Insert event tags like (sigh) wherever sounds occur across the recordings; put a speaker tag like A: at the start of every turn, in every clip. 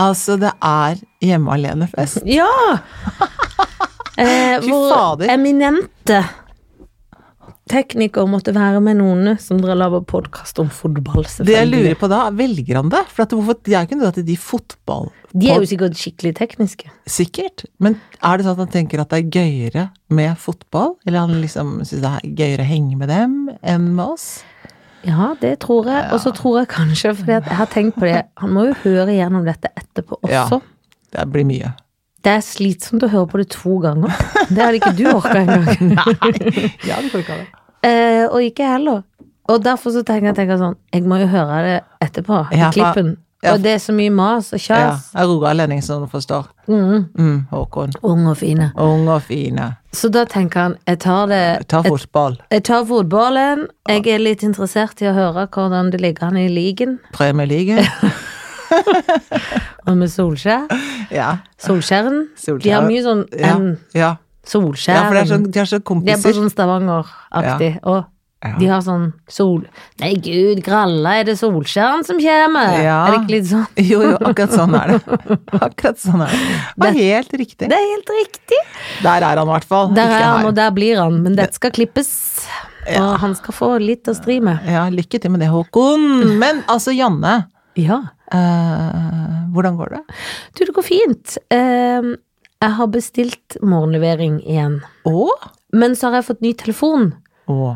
A: Altså, det er (laughs) hjemmealenefest.
B: Ja! Eh,
A: Fy
B: hvor
A: fader.
B: eminente tekniker måtte være med noen som dere lager podkast om
A: Det
B: fotball,
A: jeg
B: selvfølgelig.
A: lurer på da, velger han det? For at hvorfor, jeg kunne dratt til de fotball...
B: De er jo sikkert skikkelig tekniske.
A: Sikkert. Men er det sånn at han tenker at det er gøyere med fotball? Eller han liksom syns det er gøyere å henge med dem enn med oss?
B: Ja, det tror jeg. Og så tror jeg kanskje, fordi at jeg har tenkt på det, han må jo høre gjennom dette etterpå også.
A: Det blir (laughs) mye.
B: Det er slitsomt å høre på det to ganger. Det hadde ikke du orka
A: (laughs)
B: engang.
A: Ja, du får ikke ha det.
B: Eh, og ikke jeg heller. Og derfor så tenker jeg, tenker jeg sånn, jeg må jo høre det etterpå, i
A: Ja, for-
B: klippen.
A: ja.
B: Og det er så mye mas og
A: Ja,
B: kjas.
A: er Roar Lenning, som du forstår.
B: Mm.
A: Mm, Håkon.
B: Ung og fine.
A: Unge og fine.
B: Så da tenker han, jeg tar det
A: Ta fotball.
B: jeg tar fotballen. Jeg er litt interessert i å høre hvordan det ligger an i ligaen.
A: Premier (laughs) League.
B: Og med Solskjær.
A: Ja.
B: Solskjæren.
A: Solskjær.
B: De har mye sånn
A: Ja.
B: en
A: ja.
B: Solskjær.
A: ja for det er sånn, de er så
B: De er på
A: kompiser.
B: sånn Stavanger-aktig. Og
A: Ja.
B: de har sånn sol... Nei, gud, gralla, er det Solskjæren som kommer?
A: Ja.
B: Er det ikke litt sånn?
A: Jo, jo, akkurat sånn er det. Akkurat sånn er det. Det var helt riktig.
B: Det er helt riktig!
A: Der er han i hvert fall.
B: Der
A: ikke
B: er han,
A: her.
B: og der blir han. Men dette skal klippes. Og han skal få litt å stri med.
A: Ja, lykke til med det, Håkon. Men altså, Janne.
B: Ja.
A: eh, hvordan går det?
B: Du, det går fint. Eh, jeg har bestilt morgenlevering igjen.
A: Å?
B: Men så har jeg fått ny telefon,
A: Å.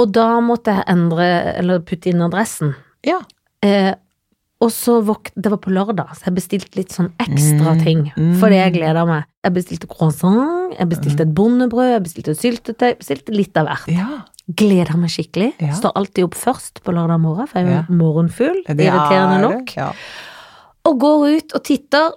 B: og da måtte jeg endre, eller putte inn adressen.
A: Ja.
B: Eh, og så våk Det var på lørdag, så jeg bestilte litt sånn ekstra
A: Mm,
B: ting.
A: mm.
B: Fordi jeg gleda meg. Jeg bestilte croissant, jeg bestilte et bondebrød, jeg bestilte et syltetøy. jeg Bestilte litt av hvert.
A: ja.
B: Gleder meg skikkelig.
A: Ja.
B: Står alltid opp først på lørdag morgen, for jeg er jo
A: Ja.
B: morgenfugl.
A: Det
B: Irriterende
A: er det.
B: nok.
A: Ja.
B: Og går ut og titter.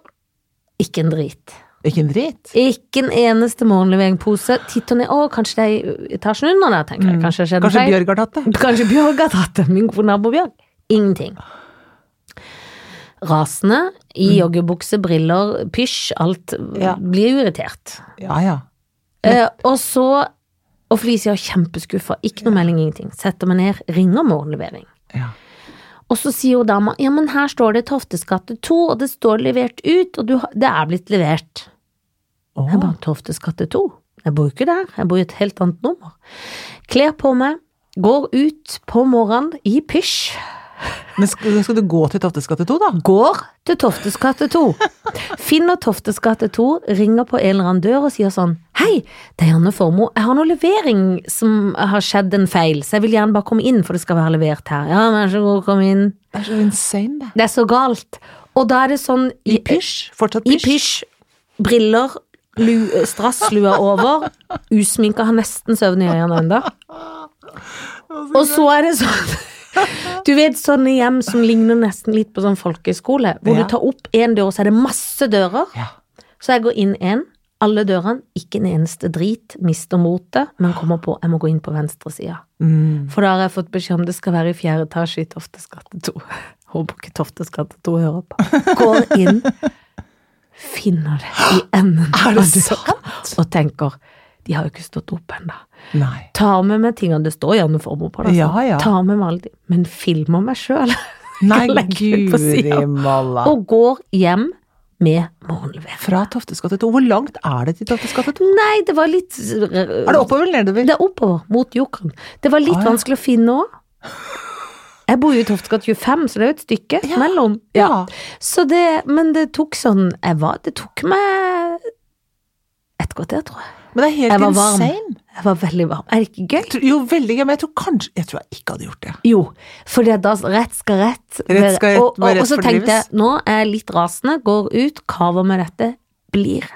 B: Ikke en drit.
A: Ikke en drit.
B: Ikke en eneste morgenleveringpose. Titter ned. Å, kanskje det er i etasjen under der, tenker jeg. Kanskje det skjedde
A: Mm. Kanskje
B: feil.
A: Bjørg har tatt det?
B: Kanskje Bjørg har tatt det. Min gode nabo Bjørg. Ingenting. Rasende. I joggebukse, briller, pysj. Alt
A: Mm. Ja.
B: blir jo irritert.
A: Ja, ja.
B: Eh, og så Og Felicia er kjempeskuffa. Ikke noe melding, ingenting. Setter meg ned, ringer morgenlevering.
A: ja.
B: Og så sier jo dama ja, men her står det Toftes gate 2, og det står levert ut, og du, har- det er blitt levert.
A: Å.
B: Jeg bare Toftes gate 2. Jeg bor jo ikke der, jeg bor i et helt annet nummer. Kler på meg, går ut på morgenen i pysj.
A: Men skal, skal du gå til Toftes gate 2, da?
B: Går til Toftes gate 2. Finner Toftes gate 2, ringer på en eller annen dør og sier sånn Hei, det er Janne Formoe. Jeg har noe levering som har skjedd en feil, så jeg vil gjerne bare komme inn, for det skal være levert her. Ja, vær så god, kom inn.
A: Det er så insane, det.
B: Det er så galt. Og da er det sånn
A: I pysj? Fortsatt
B: Altså, I
A: pysj?
B: pysj, briller, lu, strasslua over. Usminka har nesten søvn i øynene ennå.
A: Altså,
B: Og så er det sånn (laughs) Du vet sånne hjem som ligner nesten litt på sånn folkehøyskole, hvor
A: Ja.
B: du tar opp én dør, og så er det masse dører.
A: Ja.
B: Så jeg går inn én, alle dørene, ikke en eneste drit, mister motet, men kommer på jeg må gå inn på venstresida.
A: Mm.
B: For da har jeg fått beskjed om det skal være i fjerde etasje i Toftes gate 2. (laughs) Håper ikke Toftes gate 2 hører på. Går inn, finner det i enden
A: (gasps) Er det
B: av døra,
A: sant?
B: og tenker de har jo ikke stått opp ennå.
A: Nei.
B: Tar med meg tingene det står gjerne former på, det, altså.
A: Ja, ja.
B: Tar med meg alle de, men filmer meg (laughs) sjøl.
A: Nei,
B: legge det på
A: guri
B: siden.
A: malla.
B: Og går hjem med morgenlevering.
A: Fra Toftes gate 2. Hvor langt er det til Toftes gate 2?
B: Nei, det var litt
A: Er det oppover eller nedover?
B: Det er oppover, mot jokeren. Det var litt
A: Ah, ja.
B: vanskelig å finne òg. Jeg bor jo i Toftesgata 25, så det er jo et stykke
A: Ja.
B: mellom.
A: Ja.
B: Så det, men det tok sånn jeg var, Det tok meg et kvarter, tror jeg.
A: Men det er
B: Jeg
A: helt
B: var varm.
A: insane.
B: Jeg var veldig varm. Er det ikke gøy?
A: Tro- Jo, veldig gøy, men jeg tror kanskje Jeg tror jeg ikke hadde gjort det.
B: Jo, for da rett skal rett.
A: Rett skal rett,
B: og, og,
A: hva rett
B: og så
A: fordrives.
B: tenkte jeg, nå er jeg litt rasende, går ut, kaver med dette, blir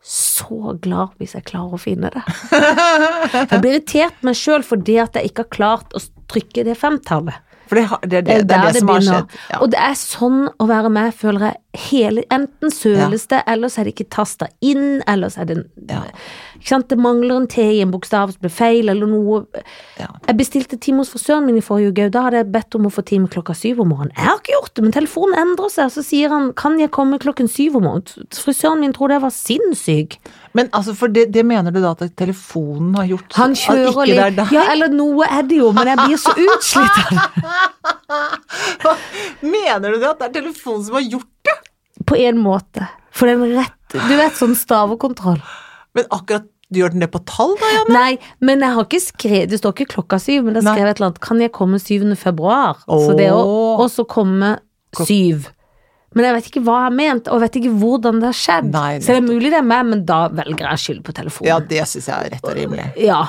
B: så glad hvis jeg klarer å finne
A: (laughs)
B: det. Jeg blir irritert meg sjøl fordi at jeg ikke har klart å trykke det femtallet.
A: For det, har- det, er det,
B: Det er
A: det, er
B: Eh, der
A: det,
B: det
A: som har
B: begynner.
A: skjedd. Ja.
B: Og det er sånn å være med, føler jeg. Hele, enten søles det, eller så er det ikke tasta inn, eller så er det en,
A: Ja.
B: Ikke sant, det mangler en T i en bokstav som ble feil, eller noe.
A: Ja.
B: Jeg bestilte time hos frisøren min i forrige uke, og da hadde jeg bedt om å få time klokka syv om morgenen. Jeg har ikke gjort det, men telefonen endrer seg, og så sier han 'kan jeg komme klokken syv om morgenen'? Frisøren min trodde jeg var sinnssyk.
A: Men altså, for det, det mener du da at telefonen har gjort
B: Han
A: så- at
B: kjører
A: ikke det er
B: litt.
A: (laughs) deg?
B: Ja, eller noe er det jo, men jeg blir så
A: (laughs)
B: utslitt av det.
A: Mener du det at det er telefonen som har gjort det?
B: På en måte. For den rett Du vet, sånn stavekontroll.
A: Men akkurat gjør den det på tall, da, Janne?
B: Nei, men jeg har ikke skrevet Det står ikke klokka syv, men jeg
A: Nei.
B: skrev et eller annet Kan jeg komme 7. februar? Så det å
A: Åh.
B: Og så komme
A: Klok-
B: syv Men jeg vet ikke hva jeg har ment Og jeg vet ikke hvordan det har skjedd
A: Nei,
B: Så det er mulig det er meg, men da velger jeg skyld på
A: Ja,
B: telefonen
A: det syns jeg er rett og rimelig.
B: Ja.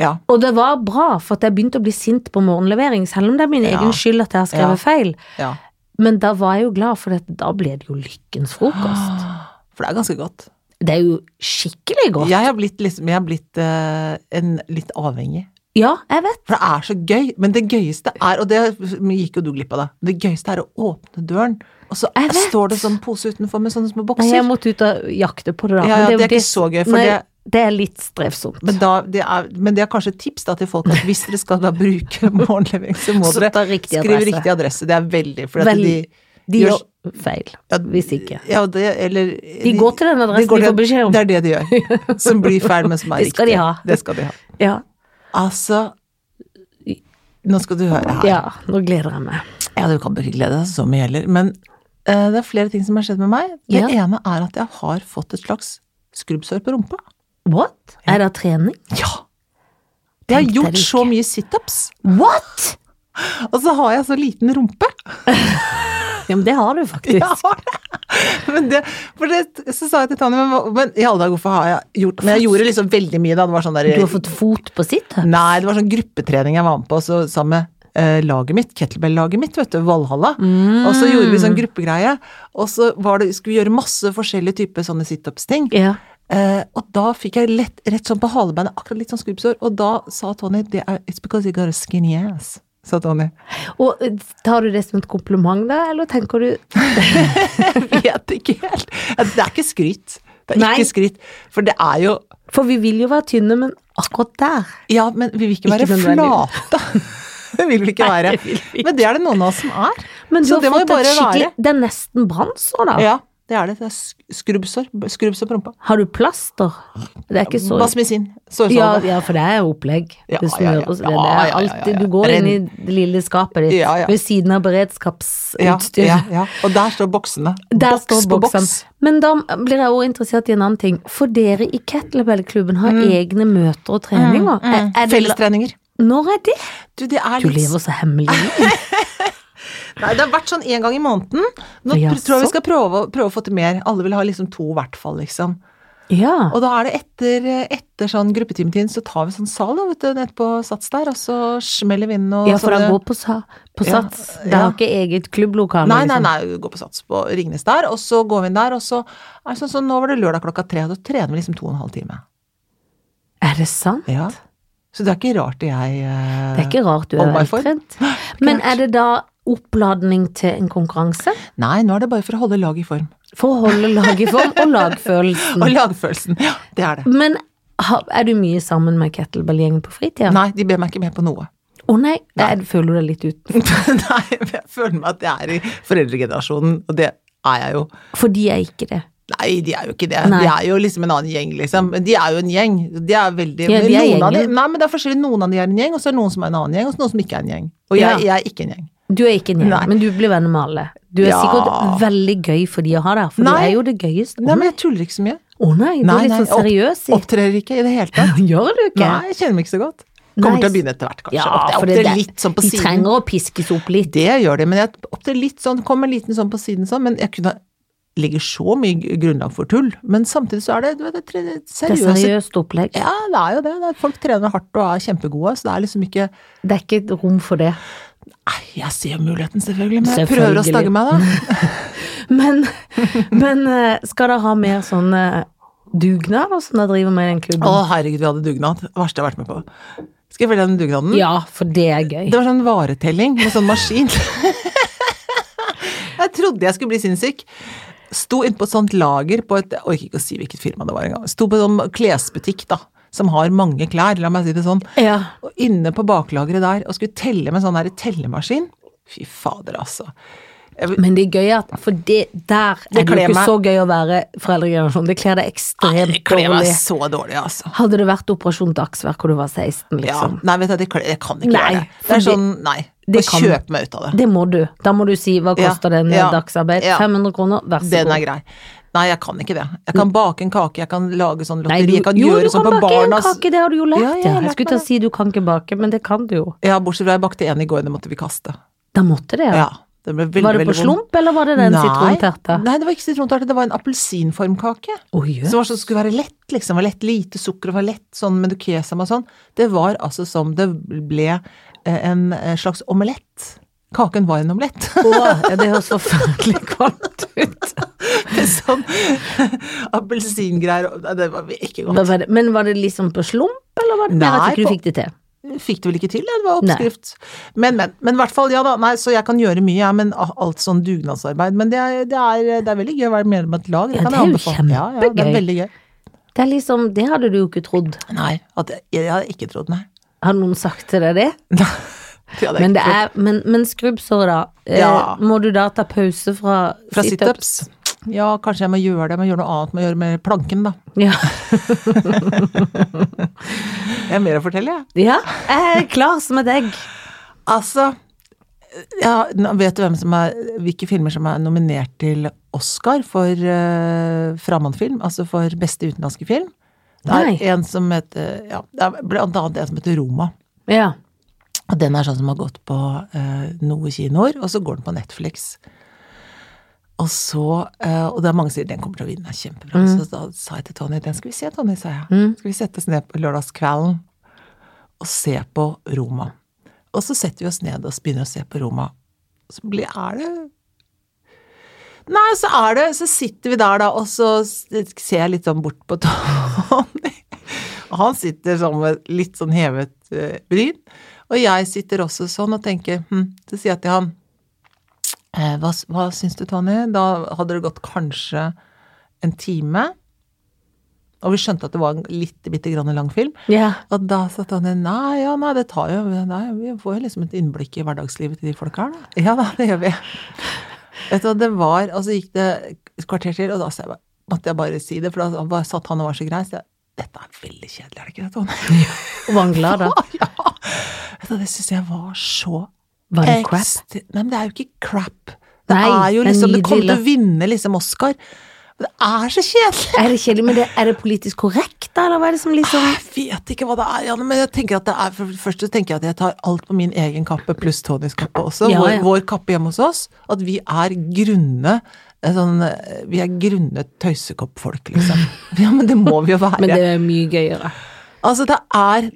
A: Ja.
B: og det var bra For at jeg begynte å bli sint på morgenlevering Selv om det er min
A: Ja.
B: egen skyld at jeg har skrevet
A: Ja.
B: feil
A: ja.
B: Men da var jeg jo glad For at da ble det jo lykkens
A: Ah.
B: frokost
A: For det er ganske godt.
B: Det er jo skikkelig Ah. godt Ja,
A: Jeg har blitt, liksom, jeg har blitt eh, en, litt avhengig.
B: jeg vet
A: For det er så gøy. Men det gøyeste er, og det gikk jo du glipp av, da, det gøyeste er å åpne døren, og så
B: Jeg vet.
A: står det sånn pose utenfor med sånne små
B: Nei,
A: bokser.
B: jeg måtte ut og jakte på det da
A: Ja,
B: men
A: ja,
B: jo
A: det er ikke så gøy, for
B: Nei,
A: det
B: det er litt strevsomt.
A: Men, da, det er, men det er kanskje et tips da til folk at hvis dere skal da bruke (laughs) morgenlevering, så må
B: Så
A: dere
B: ta riktig
A: skrive
B: adresse.
A: riktig adresse. Det er veldig fordi at
B: Veldig.
A: de,
B: de
A: gjør-
B: gjør feil,
A: ja,
B: hvis ikke.
A: Ja, det, eller,
B: De går til den adressen
A: går
B: de
A: til-
B: får beskjed om.
A: Det er det de
B: (laughs)
A: gjør. Som blir feil, men som er
B: Det skal de
A: riktig.
B: ha.
A: Det skal de ha.
B: Ja,
A: Altså Nå skal du høre her.
B: ja nå gleder jeg meg.
A: Ja, du kan ikke glede deg så mye heller, men eh, det er flere ting som har skjedd med meg. Det
B: Ja.
A: ene er at jeg har fått et slags skrubbsår på rumpa.
B: What? Er det trening?
A: Ja! Jeg har
B: Tenkte
A: gjort
B: det
A: så
B: ikke.
A: mye situps,
B: What?!
A: og så har jeg så liten rumpe. (laughs)
B: Ja, men det har du
A: Jeg
B: faktisk.
A: har det. Men det, for det, så sa jeg til Tanja, men, hva- men i alle dager, hvorfor har jeg gjort Men jeg gjorde liksom veldig mye, da. Det var sånn der
B: Du har fått fot på sitt? her.
A: Nei, det var sånn gruppetrening jeg var med på så sammen med eh, laget mitt, kettlebell-laget mitt, vet du, Valhalla.
B: Mm.
A: Og så gjorde vi sånn gruppegreie, og så var det, skulle vi gjøre masse forskjellige typer sånne situps-ting.
B: Ja.
A: Eh, og da fikk jeg lett, rett sånn på halebeinet, akkurat litt sånn skrubbsår, og da sa Tony det er, It's because you got a skinny ass, sa
B: (laughs)
A: Tony.
B: Og eh, tar du det som et kompliment, da, eller tenker du
A: Jeg vet ikke helt. Det er ikke skryt. Det er
B: Nei.
A: ikke skryt. For det er jo
B: For vi vil jo være tynne, men akkurat der
A: Ja, men vi vil ikke være
B: Ikke nødvendig.
A: flate. (laughs) Det vil vi ikke
B: Nei,
A: være.
B: det vil vi ikke.
A: Men det er det noen av oss som er.
B: Men du
A: Så
B: har
A: det må
B: fått
A: jo
B: et
A: bare
B: skikkelig
A: være.
B: Det er nesten brannsår, da.
A: Ja, det er det. Det er sk- skrubbsår. B- Skrubbsår på rumpa.
B: Har du plaster? Det er ikke så
A: Basmisin. Sårsalve.
B: ja, ja, for det er jo opplegg.
A: Sånn. Ja,
B: det
A: ja, ja.
B: smøres, det,
A: Ja, ja,
B: det er
A: ja,
B: alt.
A: ja, ja.
B: Du går inn i
A: Renn.
B: det lille skapet ditt
A: Ja, ja.
B: ved siden av
A: Ja,
B: beredskapsutstyr.
A: ja, ja. Og der står boksene.
B: Der
A: boks
B: står
A: på
B: boksen.
A: boks.
B: Men da blir jeg også interessert i en annen ting. For dere i kettlebellklubben har
A: Mm.
B: egne møter og treninger. Er, Mm. er det,
A: Eh, Fellestreninger.
B: når er det?
A: Du, det er
B: Du
A: litt
B: lever så
A: (laughs)
B: hemmelig. liv.
A: Nei, det har vært sånn én gang i måneden. Nå
B: Ja, sånn.
A: pr- tror jeg
B: så.
A: vi skal prøve, å- prøve å få til mer. Alle vil ha liksom to i hvert fall, liksom.
B: Ja.
A: Og da er det etter, etter sånn gruppetimetiden, så tar vi sånn sal da, vet du, nede på Sats der, og så smeller vi inn og
B: ja, for
A: sånne-
B: da går på, sa, på
A: Ja,
B: sats. Det
A: ja.
B: har ikke eget klubblokale.
A: Nei, nei,
B: liksom.
A: nei, vi går på sats på Ringnes der, og så går vi inn der, og så er det sånn, så nå var det lørdag klokka tre, og da trener vi liksom to og en halv time.
B: Er det sant?
A: Ja. Så det er ikke rart det jeg eh,
B: Det er ikke rart du er
A: Om meg for.
B: veltrent.
A: (gasps)
B: Men er det da oppladning til en konkurranse?
A: Nei, nå er det bare for å holde laget i form.
B: For å holde laget i form og lagfølelsen.
A: Og lagfølelsen. Ja, det er det.
B: Men ha- er du mye sammen med kettlebellgjengen på fritida?
A: Nei, de ber meg ikke med på noe.
B: Å nei, jeg føler du deg litt utenfor.
A: (laughs) Nei, men jeg føler meg at jeg er i foreldregenerasjonen, og det er jeg jo.
B: For de er ikke det.
A: Nei, de er jo ikke det.
B: Nei.
A: De er jo liksom en annen gjeng, liksom. Men de er jo en gjeng. De er veldig
B: Ja, de
A: noen
B: er
A: av de,
B: gjengen.
A: Nei, men det er forskjellig. Noen av de er en gjeng, og så er det noen som er en annen gjeng, og så noen som ikke er en gjeng. Og jeg,
B: Ja.
A: jeg er ikke en gjeng.
B: Du er ikke en gjeng,
A: Nei.
B: men du blir venner med alle. Du er
A: Ja.
B: sikkert veldig gøy for de å ha der, for du
A: Nei.
B: er jo det gøyeste. Å
A: Nei, men
B: nei,
A: jeg tuller ikke så mye.
B: Å nei, du
A: Nei,
B: er litt
A: nei,
B: sånn seriøs i
A: Opptrer ikke i det hele tatt.
B: (laughs) Gjør du ikke?
A: Nei, jeg kjenner meg ikke så godt.
B: Nei,
A: Kommer til å
B: s-
A: begynne etter hvert, kanskje.
B: Ja,
A: Opptrer-
B: for det,
A: opptrer
B: det,
A: litt sånn på
B: de
A: siden.
B: trenger å piskes opp litt.
A: Det gjør det, men jeg opptrer litt sånn, kommer liten sånn på siden sånn, men jeg kunne legge så mye gr- grunnlag for tull. Men samtidig så er det, du vet, det er tre- det er
B: Det er
A: seriøse
B: seriøst opplegg.
A: Ja, det er jo det. det er, folk trener hardt og er kjempegode, så det er liksom ikke
B: Det er ikke et rom for det.
A: Nei, jeg ser jo muligheten, selvfølgelig, men jeg prøver å
B: Selvfølgelig.
A: stagge meg, da.
B: Men, (laughs) men eh, skal dere ha mer sånn eh, dugnad, og sånn dere driver med i den klubben?
A: Å, herregud, vi hadde dugnad. Det verste jeg har vært med på. Skal jeg fortelle den dugnaden?
B: Ja, for det er gøy.
A: Det var sånn varetelling med sånn maskin. jeg trodde jeg skulle bli sinnssyk. Sto inne på et sånt lager på et Jeg orker ikke å si hvilket firma det var engang. Sto på en sånn klesbutikk, da. Som har mange klær, la meg si det sånn.
B: Ja.
A: Og inne på baklageret der, og skulle telle med sånn der tellemaskin. Fy fader, altså.
B: Men det er gøy at For det, der er det jo
A: kler
B: ikke
A: meg-
B: så gøy å være foreldregenerasjon. Det kler deg ekstremt
A: Det kler meg
B: dårlig.
A: så dårlig, altså.
B: Hadde det vært Operasjon Dagsverk hvor du var 16,
A: Ja.
B: liksom.
A: Nei, vet du, det kler Jeg kan ikke
B: Nei,
A: gjøre det. Det
B: fordi-
A: er sånn Nei.
B: Det
A: og
B: kan-
A: kjøpe meg ut av det.
B: Det må du. Da må du si hva
A: Ja,
B: koster den eh,
A: ja,
B: dagsarbeid.
A: ja.
B: 500 kroner, vær så
A: Den er
B: god.
A: grei. Nei, jeg kan ikke det. Jeg kan bake en kake, jeg kan lage sånn
B: Mm. Nei,
A: lotteri, jeg kan
B: jo,
A: gjøre
B: du
A: sånn
B: kan
A: på
B: bake
A: barnas
B: en kake, det har du jo lært.
A: Ja,
B: Ja,
A: jeg har lært
B: Jeg skulle
A: meg
B: til å si du kan ikke bake, men det kan du jo.
A: Ja, bortsett fra jeg bakte en i går, det måtte vi kaste.
B: Da måtte det,
A: Ja.
B: ja.
A: det ble veldig,
B: var det på
A: veldig vond.
B: slump, eller var det den
A: Nei.
B: sitronterta?
A: Nei, det var ikke sitrontarte, det var en appelsinformkake.
B: Oi, jø.
A: Som var sånn, skulle være lett, liksom. Var lett, lite sukker og var lett sånn med kesam og sånn. Det var altså som det ble eh, en eh, slags omelett. Kaken var en omelett. (laughs)
B: Åh, ja, det (laughs) høres forferdelig kvalmt ut.
A: sånn (laughs) appelsingreier. og- Nei, Det var ikke godt.
B: Hva var det? Men var det liksom på slump, eller var det Jeg
A: Nei,
B: vet ikke
A: på-
B: du fikk det til.
A: fikk det vel ikke til, ja, det var oppskrift. Men, men. Men i hvert fall, ja da. Nei, så jeg kan gjøre mye, jeg, men a- alt sånn dugnadsarbeid. Men det er, det er, det er veldig gøy å være medlem av et lag.
B: Ja,
A: kan
B: det er
A: jeg
B: jo
A: anbefale. Ja, ja, det
B: kjempegøy.
A: er veldig gøy.
B: Det er liksom, det hadde du jo ikke trodd.
A: Nei, at jeg, jeg hadde ikke trodd, nei. (laughs)
B: Har noen sagt til deg det?
A: Det hadde jeg
B: Men,
A: ikke
B: det
A: trodd.
B: er, men, men skrubbsår, da. Eh,
A: Ja.
B: Må du da ta pause fra,
A: Fra situps. Ja, kanskje jeg må gjøre det. Jeg må gjøre noe annet. Jeg må gjøre med planken, da.
B: (laughs) Ja.
A: Jeg har mer å fortelle, jeg.
B: ja, jeg er klar som et egg.
A: Altså ja, nå Vet du hvem som er, hvilke filmer som er nominert til Oscar for uh, fremmedfilm? Altså for beste utenlandske film? Det er
B: Nei.
A: en som heter ja, det er Blant annet en som heter Roma.
B: Ja.
A: Og den er sånn som har gått på eh, noen kinoer, og så går den på Netflix. Og så, eh, og det er mange som sier den kommer til å vinne, er kjempebra. Så da sa jeg til Tony, den skal vi se, Tony, sa jeg. Skal vi sette oss ned på lørdagskvelden og se på Roma. Og så setter vi oss ned og begynner å se på Roma. Så blir, er det Nei, så er det Så sitter vi der, da, og så s- ser jeg litt sånn bort på (laughs) Tony. Og han sitter sånn med litt sånn hevet eh, bryn. Og jeg sitter også sånn og tenker hm, Så sier jeg til han eh, Hva, s- hva syns du, Tony? Da hadde det gått kanskje en time. Og vi skjønte at det var en litt bitte grann lang film.
B: ja.
A: Og da sa Tanje nei, ja, nei, det tar jo nei, Vi får jo liksom et innblikk i hverdagslivet til de folka her, da. Ja da, det gjør vi. Vet du, hva, det var, Og så gikk det et kvarter til, og da sa jeg, bare- måtte jeg bare si det, for da bare satt han og var så grei. Så jeg, dette er veldig kjedelig, er det ikke det, Tone?
B: Og var han glad, da?
A: ja. Vet du, det syns jeg var så
B: Var det crap?
A: ekst- Nei, men det er jo ikke crap. Det
B: Nei,
A: er jo
B: det er
A: liksom Det kommer til
B: nydelig.
A: å vinne liksom Oscar. Men det er så kjedelig!
B: Er det kjedelig, men det, er det politisk korrekt, da, eller hva er det som liksom
A: Jeg vet ikke hva det er, Janne, men jeg tenker at det er, for det første tenker jeg at jeg tar alt på min egen kappe, pluss Tonys kappe også,
B: Ja, ja.
A: Vår, vår kappe hjemme hos oss. At vi er grunne eh, sånn, eh, Vi er grunne tøysekoppfolk, liksom. (laughs) Ah, Ja, men det må vi jo være.
B: Men det er mye gøyere.
A: Altså, det er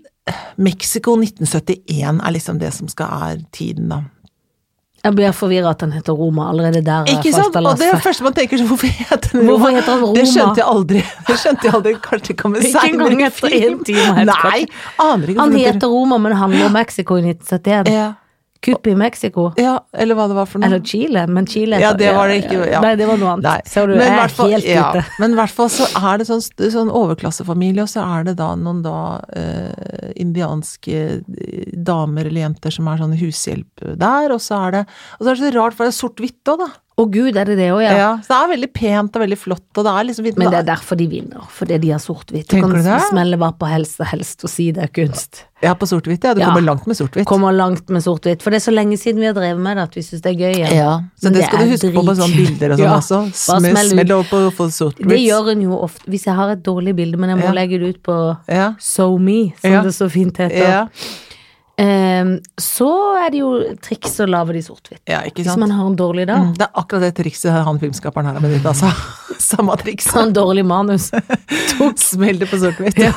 A: Mexico 1971 er liksom det som skal er tiden, da.
B: Jeg blir forvirra at han heter Roma allerede der. har jeg
A: Ikke sant?
B: falt av
A: Og det er det
B: lasset.
A: første man tenker, så hvorfor heter den
B: Hvorfor heter den
A: Det
B: Roma?
A: skjønte jeg aldri. (laughs) Det skjønte jeg aldri. Kanskje det kommer
B: Ikke engang
A: senere i
B: etter
A: film.
B: en time, helt
A: Nei, aner ikke.
B: han
A: hvorfor det-
B: heter Roma, men handler om Mexico i 1971.
A: ja,
B: Kupp i Mexico.
A: ja, eller hva det var for noe.
B: Eller Chile, men Chile
A: Ja, det var det ikke, ja.
B: Nei, det var noe annet.
A: Nei.
B: Så du
A: Men
B: jeg er
A: hvertfall-
B: helt
A: ja,
B: ute.
A: Men i hvert fall så er det sånn, st- sånn overklassefamilie, og så er det da noen da eh, indianske eh, damer eller jenter som er sånn hushjelp der, og så er det Og så er det så rart, for det er sort-hvitt òg, da.
B: Å gud, er det det òg,
A: Ja.
B: ja.
A: Så det er veldig pent og veldig flott, og det er liksom
B: Men det er derfor de vinner, fordi de har sort-hvitt. Du
A: Tenker du
B: kan
A: det?
B: smelle hva på helst og helst og si det er kunst.
A: Ja, på sort-hvitt, ja. Du
B: Ja.
A: kommer langt med sort-hvitt.
B: Kommer langt med sort-hvitt. For det er så lenge siden vi har drevet med det at vi syns det er gøy igjen.
A: Ja, så
B: Men
A: det
B: det
A: skal du
B: er
A: huske på på sånne
B: dritkult.
A: bilder og sånn
B: Ja,
A: også.
B: bare
A: Smell,
B: smell ut.
A: smell over på for
B: Det
A: sort-hvitt.
B: gjør en jo ofte. Hvis jeg har et dårlig bilde, men jeg må
A: Ja.
B: legge det ut på
A: Ja.
B: So Me, som
A: Ja.
B: det så fint heter,
A: Ja.
B: Ehm, så er det jo triks å lage de sort-hvitt.
A: ja, ikke
B: Hvis
A: sant.
B: man har en dårlig dag.
A: Mm, Det er akkurat det trikset han filmskaperen her har benyttet, altså. (laughs) Samme triks.
B: Sånn dårlig manus.
A: (laughs) Smell det på sort-hvitt.
B: Ja.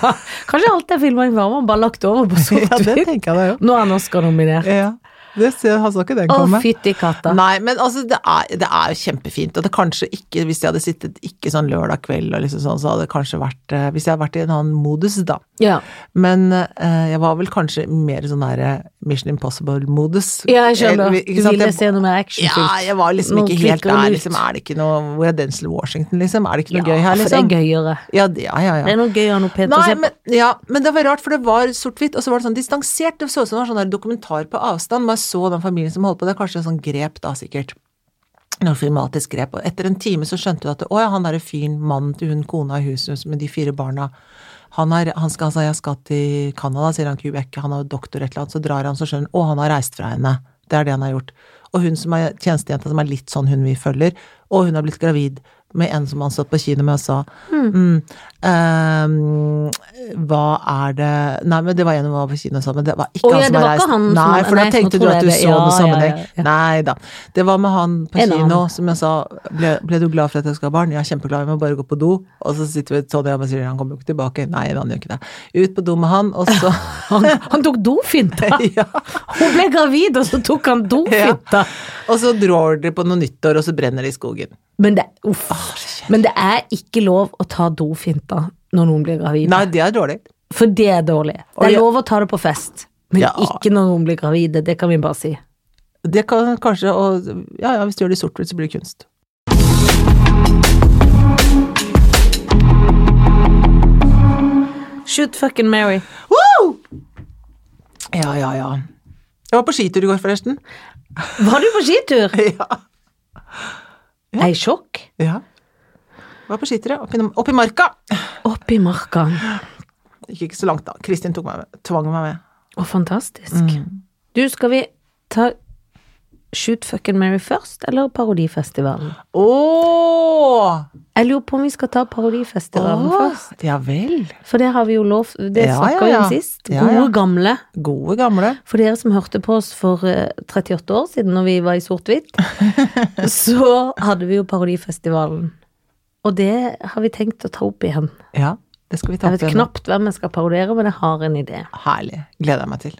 B: Kanskje alt jeg filma i varmen, bare lagt over på
A: (laughs) Ja, det
B: sort-hvitt.
A: tenker jeg det jo.
B: Nå er han Oscar-nominert.
A: Ja. Det ser, han så ikke den
B: Å,
A: komme.
B: fytti katta.
A: Nei, men altså, det er, det er jo kjempefint. Og det kanskje ikke, hvis jeg hadde sittet ikke sånn lørdag kveld og liksom sånn, så hadde det kanskje vært eh, Hvis jeg hadde vært i en annen modus, da.
B: Ja.
A: Men eh, jeg var vel kanskje mer sånn der eh, Mission Impossible-modus.
B: ja, jeg skjønner.
A: Eh,
B: Du
A: ikke sant?
B: ville
A: Jeg-
B: se noe mer
A: Ja,
B: actionfylt.
A: jeg var liksom
B: Nå
A: ikke helt
B: klikker hun
A: der.
B: ut.
A: Liksom, er det ikke noe Hvor er Denzil Washington, liksom? Er det ikke noe
B: Ja,
A: gøy her,
B: For
A: liksom?
B: det er gøyere.
A: Ja, det- ja, ja. ja.
B: Det er noe gøyere enn noe pent å
A: Nei,
B: se på.
A: men, ja, men det var rart, for det var sort-hvitt, og så var det sånn distansert. Det så ut som det var sånn der dokumentar på avstand. Man så den familien som holdt på, det er kanskje sånn grep da, sikkert. Noe filmatisk grep. Og etter en time så skjønte du at å ja, han derre fyren, mannen til hun kona i huset med de fire barna, han, er, han, skal, altså, han sa jeg skal til Canada, sier han Quebec, han har doktor et eller annet, så drar han, så skjønner han, å han har reist fra henne. Det er det han har gjort. Og hun som er tjenestejenta som er litt sånn hun vi følger, og hun har blitt gravid med en som han satt på kino med og sa
B: Hmm.
A: mm. ehm, Hva er det Nei, men det var en hun var på kino sammen med, det var ikke
B: Å,
A: han
B: ja,
A: som
B: det
A: har
B: var ikke
A: reist.
B: han som-
A: nei, for
B: nei,
A: da
B: nå
A: tenkte
B: tror
A: du at
B: jeg
A: du
B: det.
A: så
B: Ja,
A: noe
B: ja, ja,
A: sammenheng.
B: ja.
A: Nei da. Det var med han på
B: En
A: kino
B: annen.
A: som jeg sa ble, ble du glad for at jeg skal ha barn? Ja, kjempeglad, vi må bare gå på do. Og så sitter vi Tonje og jeg sier han kommer jo ikke tilbake. Nei, han gjør ikke det. Ut på do med han, og så
B: (laughs) Han, han tok dofinta!
A: (laughs) ja.
B: Hun ble gravid, og så tok han dofinta!
A: Og så drar de på noe nyttår, og så brenner de i skogen.
B: Men det, uff. Men det er ikke lov å ta dofinta når noen blir gravid.
A: Nei, det er dårlig.
B: For det er dårlig. Det
A: Og
B: er
A: jeg-
B: lov å ta det på fest, men
A: Ja.
B: ikke når noen blir gravide. Det kan vi bare si.
A: Det kan kanskje og, Ja, ja, hvis du gjør det i sort-hvitt, så blir det kunst.
B: Shoot fucking Mary.
A: Woo! Ja, ja, ja. Jeg var på skitur i går,
B: (laughs)
A: forresten.
B: Var du på skitur?
A: Ja.
B: Jeg er i sjokk.
A: ja. Jeg var på skitur, ja. Opp i, opp i marka.
B: Oppi marka.
A: Gikk ikke så langt, da. Kristin tok meg med, tvang meg med.
B: Å, fantastisk.
A: Mm.
B: Du, skal vi ta Shoot fucking Mary først, eller Parodifestivalen?
A: Ååå!
B: Jeg lurer på om vi skal ta Parodifestivalen først.
A: Ja vel.
B: For det har vi jo lov Det
A: Ja,
B: snakka
A: ja,
B: vi
A: ja.
B: om sist. Gode,
A: Ja, ja.
B: gamle.
A: Gode gamle.
B: For dere som hørte på oss for eh, 38 år siden når vi var i
A: (laughs)
B: sort-hvitt, så hadde vi jo Parodifestivalen. Og det har vi tenkt å ta opp igjen.
A: Ja, det skal vi ta
B: Jeg
A: opp
B: vet
A: igjen. nå.
B: knapt hvem jeg skal parodiere, men jeg har en idé.
A: Herlig. Gleder jeg meg til.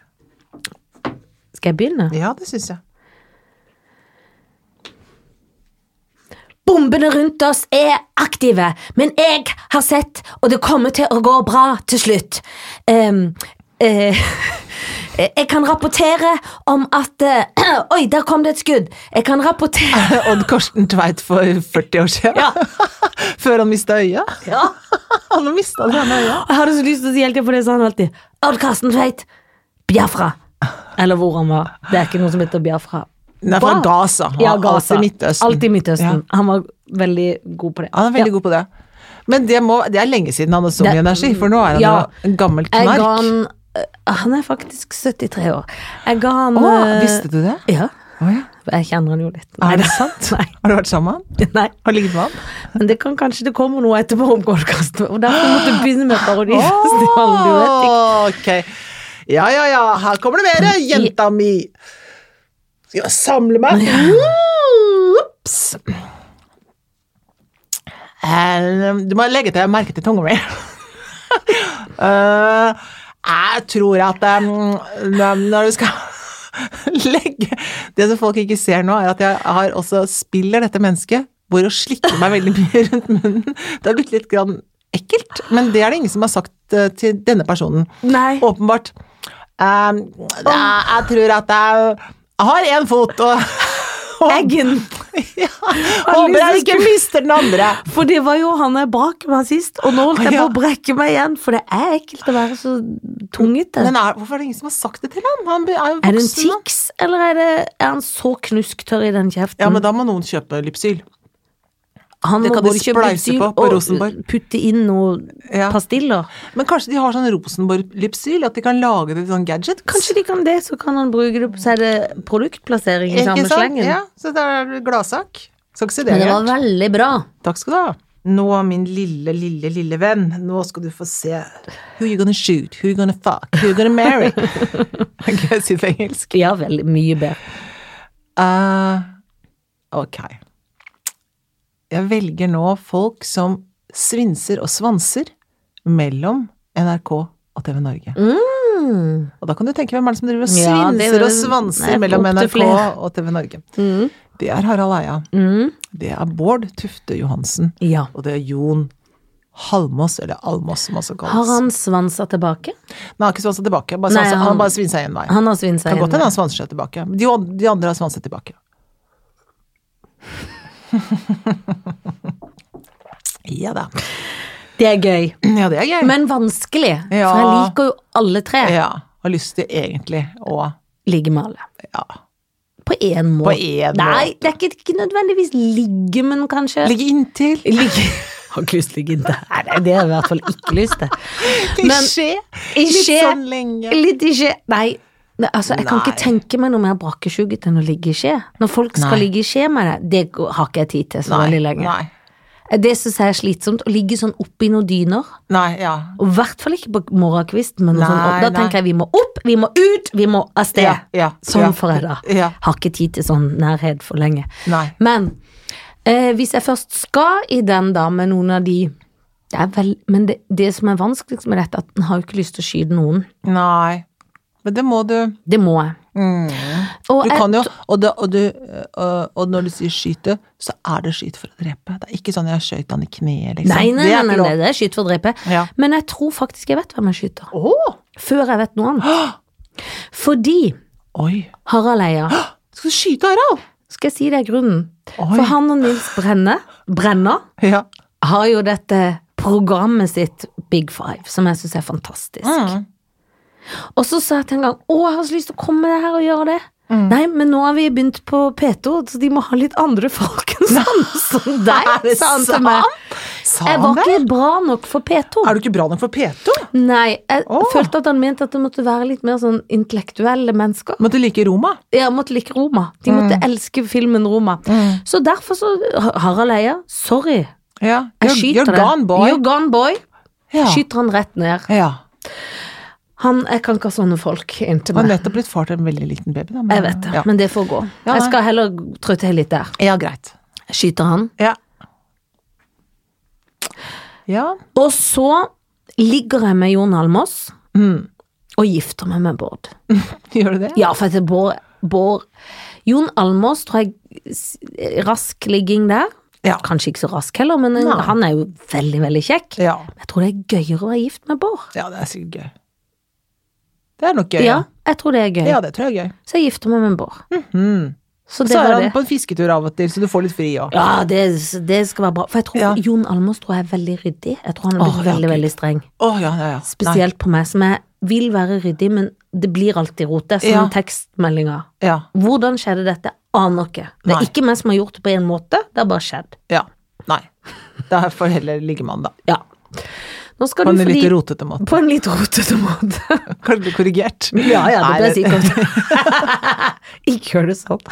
B: Skal jeg begynne?
A: Ja, det syns jeg. (laughs)
B: Bombene rundt oss er aktive, men jeg har sett, og det kommer til å gå bra til slutt. Ehm, eh, (laughs) jeg kan rapportere om at eh, (clears throat) Oi, der kom det et skudd! Jeg kan rapportere
A: Odd Karsten Tveit for 40 år siden.
B: Ja.
A: (laughs) Før han mista øyet.
B: (laughs) (laughs) ja.
A: Han har mista det ene øyet.
B: Jeg hadde så lyst til å si helt igjen, for det sa han alltid. Odd Karsten Tveit, Biafra. Eller hvor han var. Det er ikke noe som heter Biafra.
A: Nei, fra
B: Bra.
A: Gaza. Han
B: Ja,
A: er
B: Gaza.
A: Alltid i Midtøsten.
B: Alltid Midtøsten. Han var veldig god på det.
A: Ja, han er veldig god på det. Men det, må, det er lenge siden han hadde så mye
B: Det-
A: energi, for nå er han
B: Ja.
A: jo en gammel
B: Jeg
A: knark.
B: ga han eh, Han er faktisk 73 år. Jeg ga han
A: Å,
B: eh,
A: visste du det?
B: Ja.
A: Å ja.
B: Jeg kjenner han jo litt.
A: Er det
B: sant? Nei.
A: Har du vært sammen med han?
B: Nei.
A: Har du ligget med han?
B: Men det kan kanskje det kommer noe etterpå om podkasten. Og derfor måtte jeg begynne med (laughs) parodifestivalen. Du vet ikke.
A: Å, ok. Ja, ja, ja, her kommer det mer, jenta mi. Skal jeg samle meg? Ops. Eh, Du må legge til merke til tunga mi. (laughs) Eh, jeg tror at eh, når når du skal (laughs) legge Det som folk ikke ser nå, er at jeg har også spiller dette mennesket, hvor å slikke meg veldig mye (laughs) rundt munnen. Det har blitt litt grann ekkelt, men det er det ingen som har sagt eh, til denne personen.
B: Nei.
A: Åpenbart. Eh, det er- jeg tror at jeg har én fot, og
B: Eggen.
A: (laughs) ja, håper jeg ikke mister den andre.
B: For det var jo han jeg brak meg sist, og nå holdt jeg på å brekke meg igjen. For det er ekkelt å være så tungete.
A: Men er, hvorfor er det ingen som har sagt det til ham? Han er jo
B: Er det en
A: voksen nå.
B: tics, eller er, det, er han så knusktørr i den kjeften?
A: Ja, men da må noen kjøpe Lypsyl.
B: han
A: det
B: må
A: kan de
B: både kjøpe
A: spleise
B: Lypsyl
A: på på Rosenborg.
B: Og putte inn noen
A: Ja.
B: pastiller.
A: Men kanskje de har sånn Rosenborg-Lypsyl, at de kan lage det til sånn gadget?
B: Kanskje de kan det, så kan han bruke det Så er det produktplassering i
A: Ikke
B: samme
A: sant?
B: slengen.
A: Ja, så det er gladsak. Skal ikke se det
B: Men det var
A: igjen.
B: veldig bra.
A: Takk skal du ha. Nå, min lille, lille, lille venn, nå skal du få se. Who you gonna shoot? Who you gonna fuck? Who you gonna marry?
B: (laughs)
A: Kan jeg si det på engelsk?
B: Ja, veldig mye bedre.
A: Eh, ok. Jeg velger nå folk som svinser og svanser mellom NRK og TV Norge.
B: Hmm.
A: Og da kan du tenke hvem er det som driver og
B: Mm. Ja,
A: svinser
B: det-
A: og svanser
B: Nei,
A: mellom
B: opp til
A: NRK
B: flere.
A: og TV Norge.
B: Mm.
A: Det er Harald Eia. Det er Bård Tufte Johansen.
B: Ja.
A: Og det er Jon Halmås, eller Almås som også kalles.
B: Har han svansa tilbake?
A: Nei, han har ikke svansa tilbake, bare
B: Nei,
A: svanset, han,
B: han-
A: har bare svinsa én vei.
B: Han har svinsa
A: Kan
B: igjen.
A: godt hende han svanser seg tilbake. De, de andre har svanset tilbake. (laughs) ja da.
B: Det er gøy.
A: Ja, det er gøy.
B: Men vanskelig.
A: Ja.
B: For jeg liker jo alle tre.
A: ja, har lyst til egentlig å
B: Ligge med alle.
A: ja,
B: På én
A: På
B: måte.
A: én
B: Nei, det er ikke, ikke nødvendigvis ligge, men kanskje
A: ligge inntil.
B: (laughs) Ligge. Har ikke lyst til å ligge inntil. Nei, det- det har jeg i hvert fall ikke lyst til.
A: Klisjé.
B: i
A: Litt
B: skje.
A: sånn lenge.
B: Litt ikke Nei, Nei, altså, jeg kan ikke
A: Nei.
B: tenke meg noe mer brakkesjuket enn å ligge i skje. Når folk skal
A: Nei.
B: ligge i skje med deg, det går- har ikke jeg tid til så veldig lenge.
A: Nei.
B: Det syns jeg er slitsomt. Å ligge sånn oppi noen dyner.
A: Nei, ja.
B: Og i hvert fall ikke på morgenkvisten, men noe
A: Nei,
B: sånn opp. Da
A: nei.
B: tenker jeg vi må opp, vi må ut, vi må av sted.
A: Ja, ja,
B: sånn
A: ja.
B: får jeg det.
A: Ja.
B: Har ikke tid til sånn nærhet for lenge.
A: Nei.
B: Men eh, hvis jeg først skal i den, da, med noen av de det er vel, Men det, det som er vanskeligst med dette, at en har jo ikke lyst til å skyte noen.
A: Nei. Men det må du.
B: Det må jeg.
A: Mm.
B: Og
A: Du
B: jeg-
A: kan jo, og, det, og, du, øh, og når du sier skyte, så er det skyte for å drepe. Det er ikke sånn jeg skjøt han i kneet, liksom.
B: Nei, nei,
A: Det er
B: nei, nei,
A: ikke lov.
B: nei, det er skyt for å drepe.
A: Ja.
B: Men jeg tror faktisk jeg vet hvem jeg skyter.
A: Åh!
B: Før jeg vet noe annet. Fordi
A: Oi.
B: Harald Eia
A: Skal du skyte Harald?
B: Skal jeg si deg grunnen?
A: Oi.
B: For han og Nils Brenne, Brenna
A: Ja.
B: har jo dette programmet sitt Big Five, som jeg syns er fantastisk.
A: Mm.
B: Og så sa jeg til en gang Å, jeg har så lyst til å komme med det her og gjøre det.
A: Mm.
B: Nei, men nå har vi begynt på P2, så de må ha litt andre folk enn sånn
A: (laughs)
B: som deg,
A: Er det
B: sa han til
A: sant?
B: meg.
A: Sa
B: Jeg
A: han
B: var
A: det?
B: ikke bra nok for P2.
A: Er du ikke bra nok for P2?
B: Nei, jeg
A: Åh.
B: følte at han mente at det måtte være litt mer sånn intellektuelle mennesker.
A: Måtte like Roma.
B: Jeg måtte like Roma. De måtte
A: Mm.
B: elske filmen Roma. Så derfor så Harald Eia, sorry.
A: Ja.
B: Jeg
A: You're,
B: skyter
A: you're
B: det.
A: gone, boy.
B: You're gone boy.
A: ja.
B: Skyter han rett ned.
A: Ja.
B: Han, jeg kan ikke ha sånne folk inntil
A: Han har
B: meg.
A: nettopp blitt far til en veldig liten baby, da. men-
B: Jeg vet det,
A: Ja,
B: men det får gå.
A: Ja,
B: jeg
A: nei.
B: skal heller trå til litt der.
A: ja greit.
B: Skyter han.
A: Ja. Ja.
B: Og så ligger jeg med Jon Almås
A: Mm. (laughs)
B: og gifter meg med Bård.
A: Gjør du det?
B: Ja, for at det er Bård, Bård Jon Almås tror jeg s- Rask ligging der
A: Ja.
B: Kanskje ikke så rask heller Men en-
A: Nei.
B: han er jo veldig, veldig kjekk
A: Ja.
B: Jeg tror det er gøyere å være gift med Bård
A: Ja, det er sikkert gøy. Det er nok gøy,
B: Ja, jeg tror det er gøy
A: Ja, det tror jeg er gøy.
B: Så jeg gifter meg med Bård
A: Mhm.
B: Så det
A: Så er
B: var
A: han
B: det
A: på en fisketur av og til, så du får litt fri òg.
B: Ja, det, det skal være bra For jeg tror
A: Ja.
B: Jon Almås tror jeg er veldig ryddig Jeg tror han
A: Åh,
B: blir
A: ja,
B: veldig,
A: Gud.
B: veldig streng
A: Å ja, ja, ja. Nei.
B: Spesielt på meg som jeg vil være ryddig Men det blir alltid rotet Som
A: Ja.
B: tekstmeldinger
A: Ja,
B: Hvordan skjedde dette? Aner ikke Det
A: Nei.
B: er ikke meg som har gjort det på en måte Det har bare skjedd
A: ja. Nei.
B: (laughs)
A: Da får heller ligge man, da.
B: Ja. Nå skal
A: På en
B: du fordi
A: litt rotete måte.
B: På en litt
A: (laughs)
B: rotete måte.
A: Kan bli korrigert.
B: Ja, ja, det ble
A: Nei,
B: sikkert. (laughs) Ikke gjør det sånn.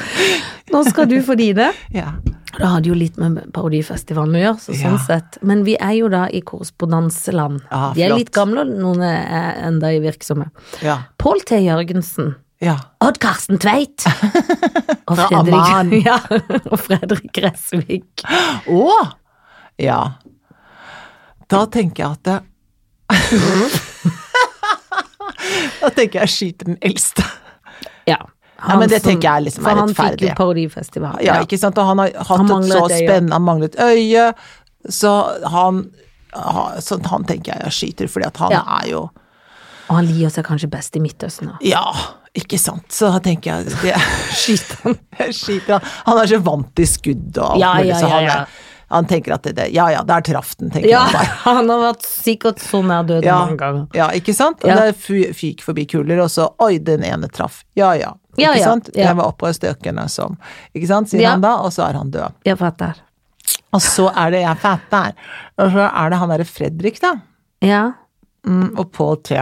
B: Nå skal du få dine.
A: Ja.
B: Det hadde jo litt med Parodifestivalen å gjøre, så
A: Ja.
B: sånn sett. Men vi er jo da i korrespondanseland.
A: Ja,
B: De er
A: flott.
B: litt gamle, og noen er enda i virksomme.
A: Ja.
B: Pål T. Jørgensen.
A: ja.
B: Odd Karsten
A: (laughs)
B: Tveit. Og
A: Fra Amman.
B: Fredrik, (laughs) ja, og Fredrik Gressvik.
A: Å! Ja. Da tenker jeg (laughs) at det... Da tenker jeg jeg skyter den eldste.
B: Ja.
A: Ja, men det
B: som-
A: tenker jeg liksom
B: for
A: er
B: Han fikk jo
A: rettferdig.
B: Parodifestivalen.
A: Ja, ikke sant? Og han har hatt
B: Han
A: et
B: mangler
A: så
B: et øye.
A: spennende Han manglet øye, så han ha- så han tenker jeg jeg skyter, fordi at han
B: Ja.
A: er jo
B: Og han liker seg kanskje best i Midtøsten. da.
A: Ja, ikke sant. Så da tenker jeg det,
B: Skyter
A: (laughs)
B: han.
A: jeg skyter han. Han er så vant til skudd og alt
B: Ja,
A: mulig,
B: ja,
A: så
B: ja,
A: han,
B: ja.
A: er, han tenker at det, det Ja ja, der traff den, tenker
B: Ja,
A: han bare.
B: (laughs) han har vært sikkert så nær døden
A: Ja,
B: mange ganger.
A: ja, ikke sant?
B: Ja.
A: Det fy- fyk forbi kuler, og så oi, den ene traff. Ja ja. Ikke
B: Ja, ja,
A: sant?
B: ja.
A: Jeg var oppå støkene som Ikke sant, sier
B: Ja.
A: han da, og så er han død.
B: Jeg fatter.
A: Og så er det jeg fatter. Og så er det han derre Fredrik, da.
B: Ja,
A: Mm, og Pål T.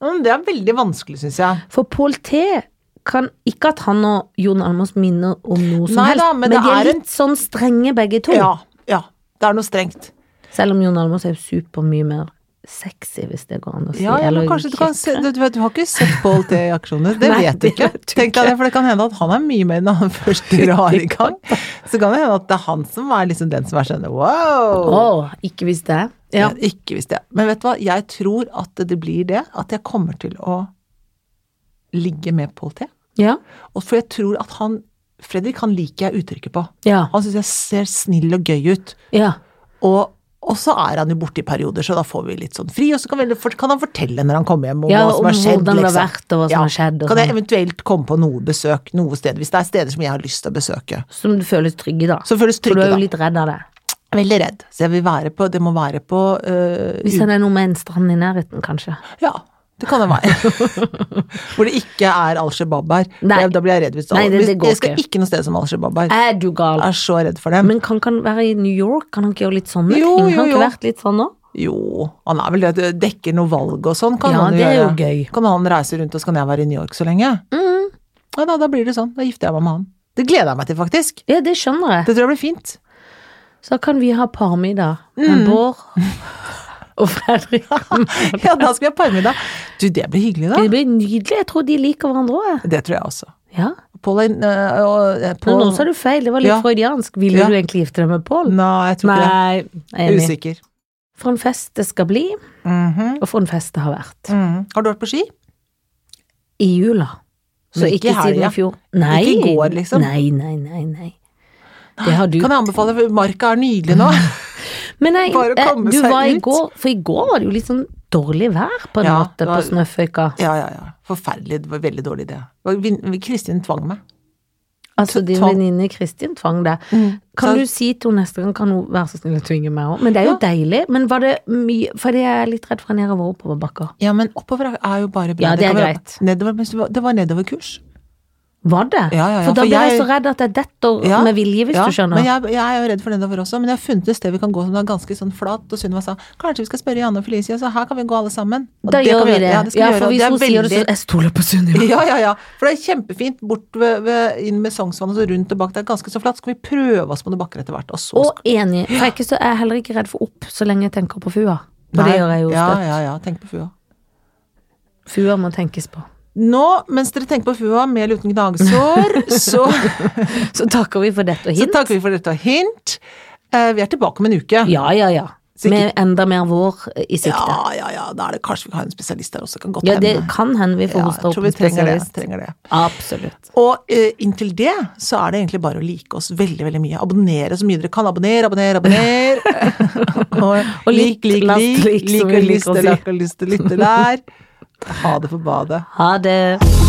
A: Mm, det er veldig vanskelig, syns jeg.
B: for Pål T kan ikke at han og Jon Almaas minner om noe som
A: Nei
B: helst,
A: da, men det
B: de er
A: er en-
B: litt sånn strenge begge to.
A: Ja, ja. Det er noe strengt.
B: Selv om Jon Almaas er jo super mye mer sexy, hvis det går an å si.
A: Ja, ja, men
B: eller
A: kanskje du kan se
B: kjekkere.
A: du, vet, du har ikke sett Pål T i aksjoner, det
B: (laughs) Nei,
A: vet du
B: det
A: ikke.
B: vet du
A: Tenk deg det, for det kan hende at han er mye mer enn han (laughs) først drar i gang. Så kan det hende at det er han som er liksom den som er sånn wow.
B: Å, ikke hvis det. Ja.
A: Jeg- Ikke hvis det. Men vet du hva, jeg tror at det blir det, at jeg kommer til å ligge med Pål T.
B: Ja.
A: Og for jeg tror at han Fredrik, han liker jeg uttrykket på.
B: Ja.
A: Han syns jeg ser snill og gøy ut.
B: ja.
A: Og, og så er han jo borte i perioder, så da får vi litt sånn fri, og så kan, vi, for, kan han fortelle når han kommer hjem om
B: Ja,
A: hva som
B: om
A: har skjedd. liksom.
B: hvordan det har vært, og hva som har skjedd, og
A: Kan jeg
B: sånn.
A: eventuelt komme på noe besøk noe sted, hvis det er steder som jeg har lyst til å besøke.
B: Som du føles trygg i, da.
A: Så føles
B: For
A: trygge,
B: du er jo
A: da.
B: litt redd av det.
A: Veldig redd. Så jeg vil være på Det må være på øh,
B: Hvis
A: u-
B: det er noe med en strand i nærheten, kanskje.
A: Ja, det kan det være.
B: (laughs)
A: Hvor det ikke er Al Shabaab her.
B: Nei.
A: Da- Da blir jeg redd. Hvis
B: Nei, det-
A: hvis-
B: det går
A: jeg skal
B: ikke.
A: ikke noe sted som Al Shabaab her.
B: Er du gal?
A: Jeg er så redd for dem.
B: Men kan ikke han være i New York? Kan han ikke gjøre litt sånne
A: Jo,
B: ting? Har
A: jo,
B: han
A: jo.
B: ikke vært litt sånn nå?
A: Jo, han er vel det. det Dekker noe valg og sånn, kan
B: Ja,
A: han
B: det er jo
A: gjøre.
B: gøy.
A: Kan han reise rundt, og så kan jeg være i New York så lenge?
B: Mm.
A: Ja, da, da blir det sånn. Da gifter jeg meg med han. Det gleder jeg meg til, faktisk.
B: Ja, det skjønner jeg.
A: Det tror jeg blir fint. (laughs)
B: Så kan vi ha parmiddag
A: Mm.
B: med Bård og
A: (laughs)
B: Fredrik.
A: Ja, da skal vi ha parmiddag. Du, det blir hyggelig, da.
B: Det blir nydelig. Jeg tror de liker hverandre òg.
A: Det tror jeg også.
B: Ja.
A: Pål er inn- øh, og øh,
B: Nå,
A: Paul-
B: nå sa du feil. Det var litt
A: Ja.
B: freudiansk. Ville
A: Ja.
B: du egentlig gifte deg med Pål?
A: Nei, jeg tror
B: Nei,
A: ikke
B: jeg er
A: det.
B: enig.
A: Usikker.
B: For en fest det skal bli,
A: Mhm,
B: og for en fest det har vært.
A: mhm. Har du vært på ski?
B: I jula. Så
A: Men
B: ikke,
A: ikke i
B: siden
A: helga.
B: i fjor. Nei.
A: Ikke i går, liksom.
B: Nei, nei, nei, nei. Det har du.
A: Kan jeg anbefale, for Marka er nydelig nå. (laughs)
B: Men nei,
A: Bare å
B: eh,
A: komme
B: du
A: seg
B: var i
A: ut.
B: går, for i går var det jo litt sånn dårlig vær på en
A: Ja,
B: måte
A: det
B: på
A: var-
B: Snøføyka.
A: Ja, ja, ja. Forferdelig. Det var en veldig dårlig idé. Og Vin- Kristin tvang meg.
B: Altså din
A: Tvang. Mm.
B: venninne Kristin tvang deg. Kan
A: Så-
B: du si til henne neste gang kan hun være så snill å tvinge meg òg? Men det er jo
A: Ja.
B: deilig. Men var det mye Fordi jeg er litt redd for nedover og oppoverbakker.
A: Ja, men oppover er jo bare bra.
B: Ja, det er
A: kan vi-
B: greit.
A: Nedover, men det var- det var nedoverkurs.
B: Var det?
A: Ja, ja, ja,
B: for da
A: for
B: blir jeg
A: jeg-
B: så redd at jeg detter
A: Ja,
B: med vilje, hvis
A: ja,
B: du skjønner.
A: Men jeg, jeg er jo redd for nedover også, men jeg har funnet et sted vi kan gå som er ganske sånn flatt, og Sunniva sa kanskje vi skal spørre Janne og Felicia, så her kan vi gå alle sammen. Og
B: da gjør
A: kan
B: vi
A: gjøre.
B: det.
A: Ja, det skal vi gjøre.
B: for
A: og
B: hvis
A: det er
B: hun sier det, så
A: veldig- (laughs)
B: Jeg stoler på Sunniva.
A: Ja, ja, ja. For det er kjempefint bort ved, ved, inn med Sognsvannet og så rundt og bak. Det er ganske så flatt. Skal vi prøve oss på noen bakker etter hvert? Og så
B: Og enig. For jeg er, ikke så, jeg er heller ikke redd for opp så lenge jeg tenker på fua. Og
A: Nei.
B: det gjør jeg jo
A: Ja,
B: støtt.
A: ja, ja. Tenk på fua.
B: Fua må tenkes
A: (laughs)
B: på.
A: Nå, mens dere tenker på fua med eller uten gnagsår,
B: (laughs)
A: så,
B: Så takker vi for dette og
A: så
B: hint.
A: takker vi for dette hint. Eh, vi er tilbake om en uke.
B: Ja, ja, ja.
A: Sikkert.
B: Med enda mer vår eh, i sikte.
A: ja, ja, ja. Da er det kanskje vi kan ha en spesialist der også. Kan godt
B: Ja, det
A: hende.
B: kan hende vi får
A: Ja,
B: hosta
A: jeg
B: opp
A: tror vi
B: en
A: trenger det.
B: spesialist.
A: Trenger det.
B: Absolutt.
A: Og eh, inntil det så er det egentlig bare å like oss veldig veldig mye. Abonnere så mye dere kan. Abonner, abonner,
B: (laughs)
A: abonner. og,
B: Og lik, last lik, som
A: Lik
B: vi
A: og
B: liker
A: lyst
B: å
A: og
B: si.
A: lakk og lyst og lytte der. Ha det på badet.
B: Ha det.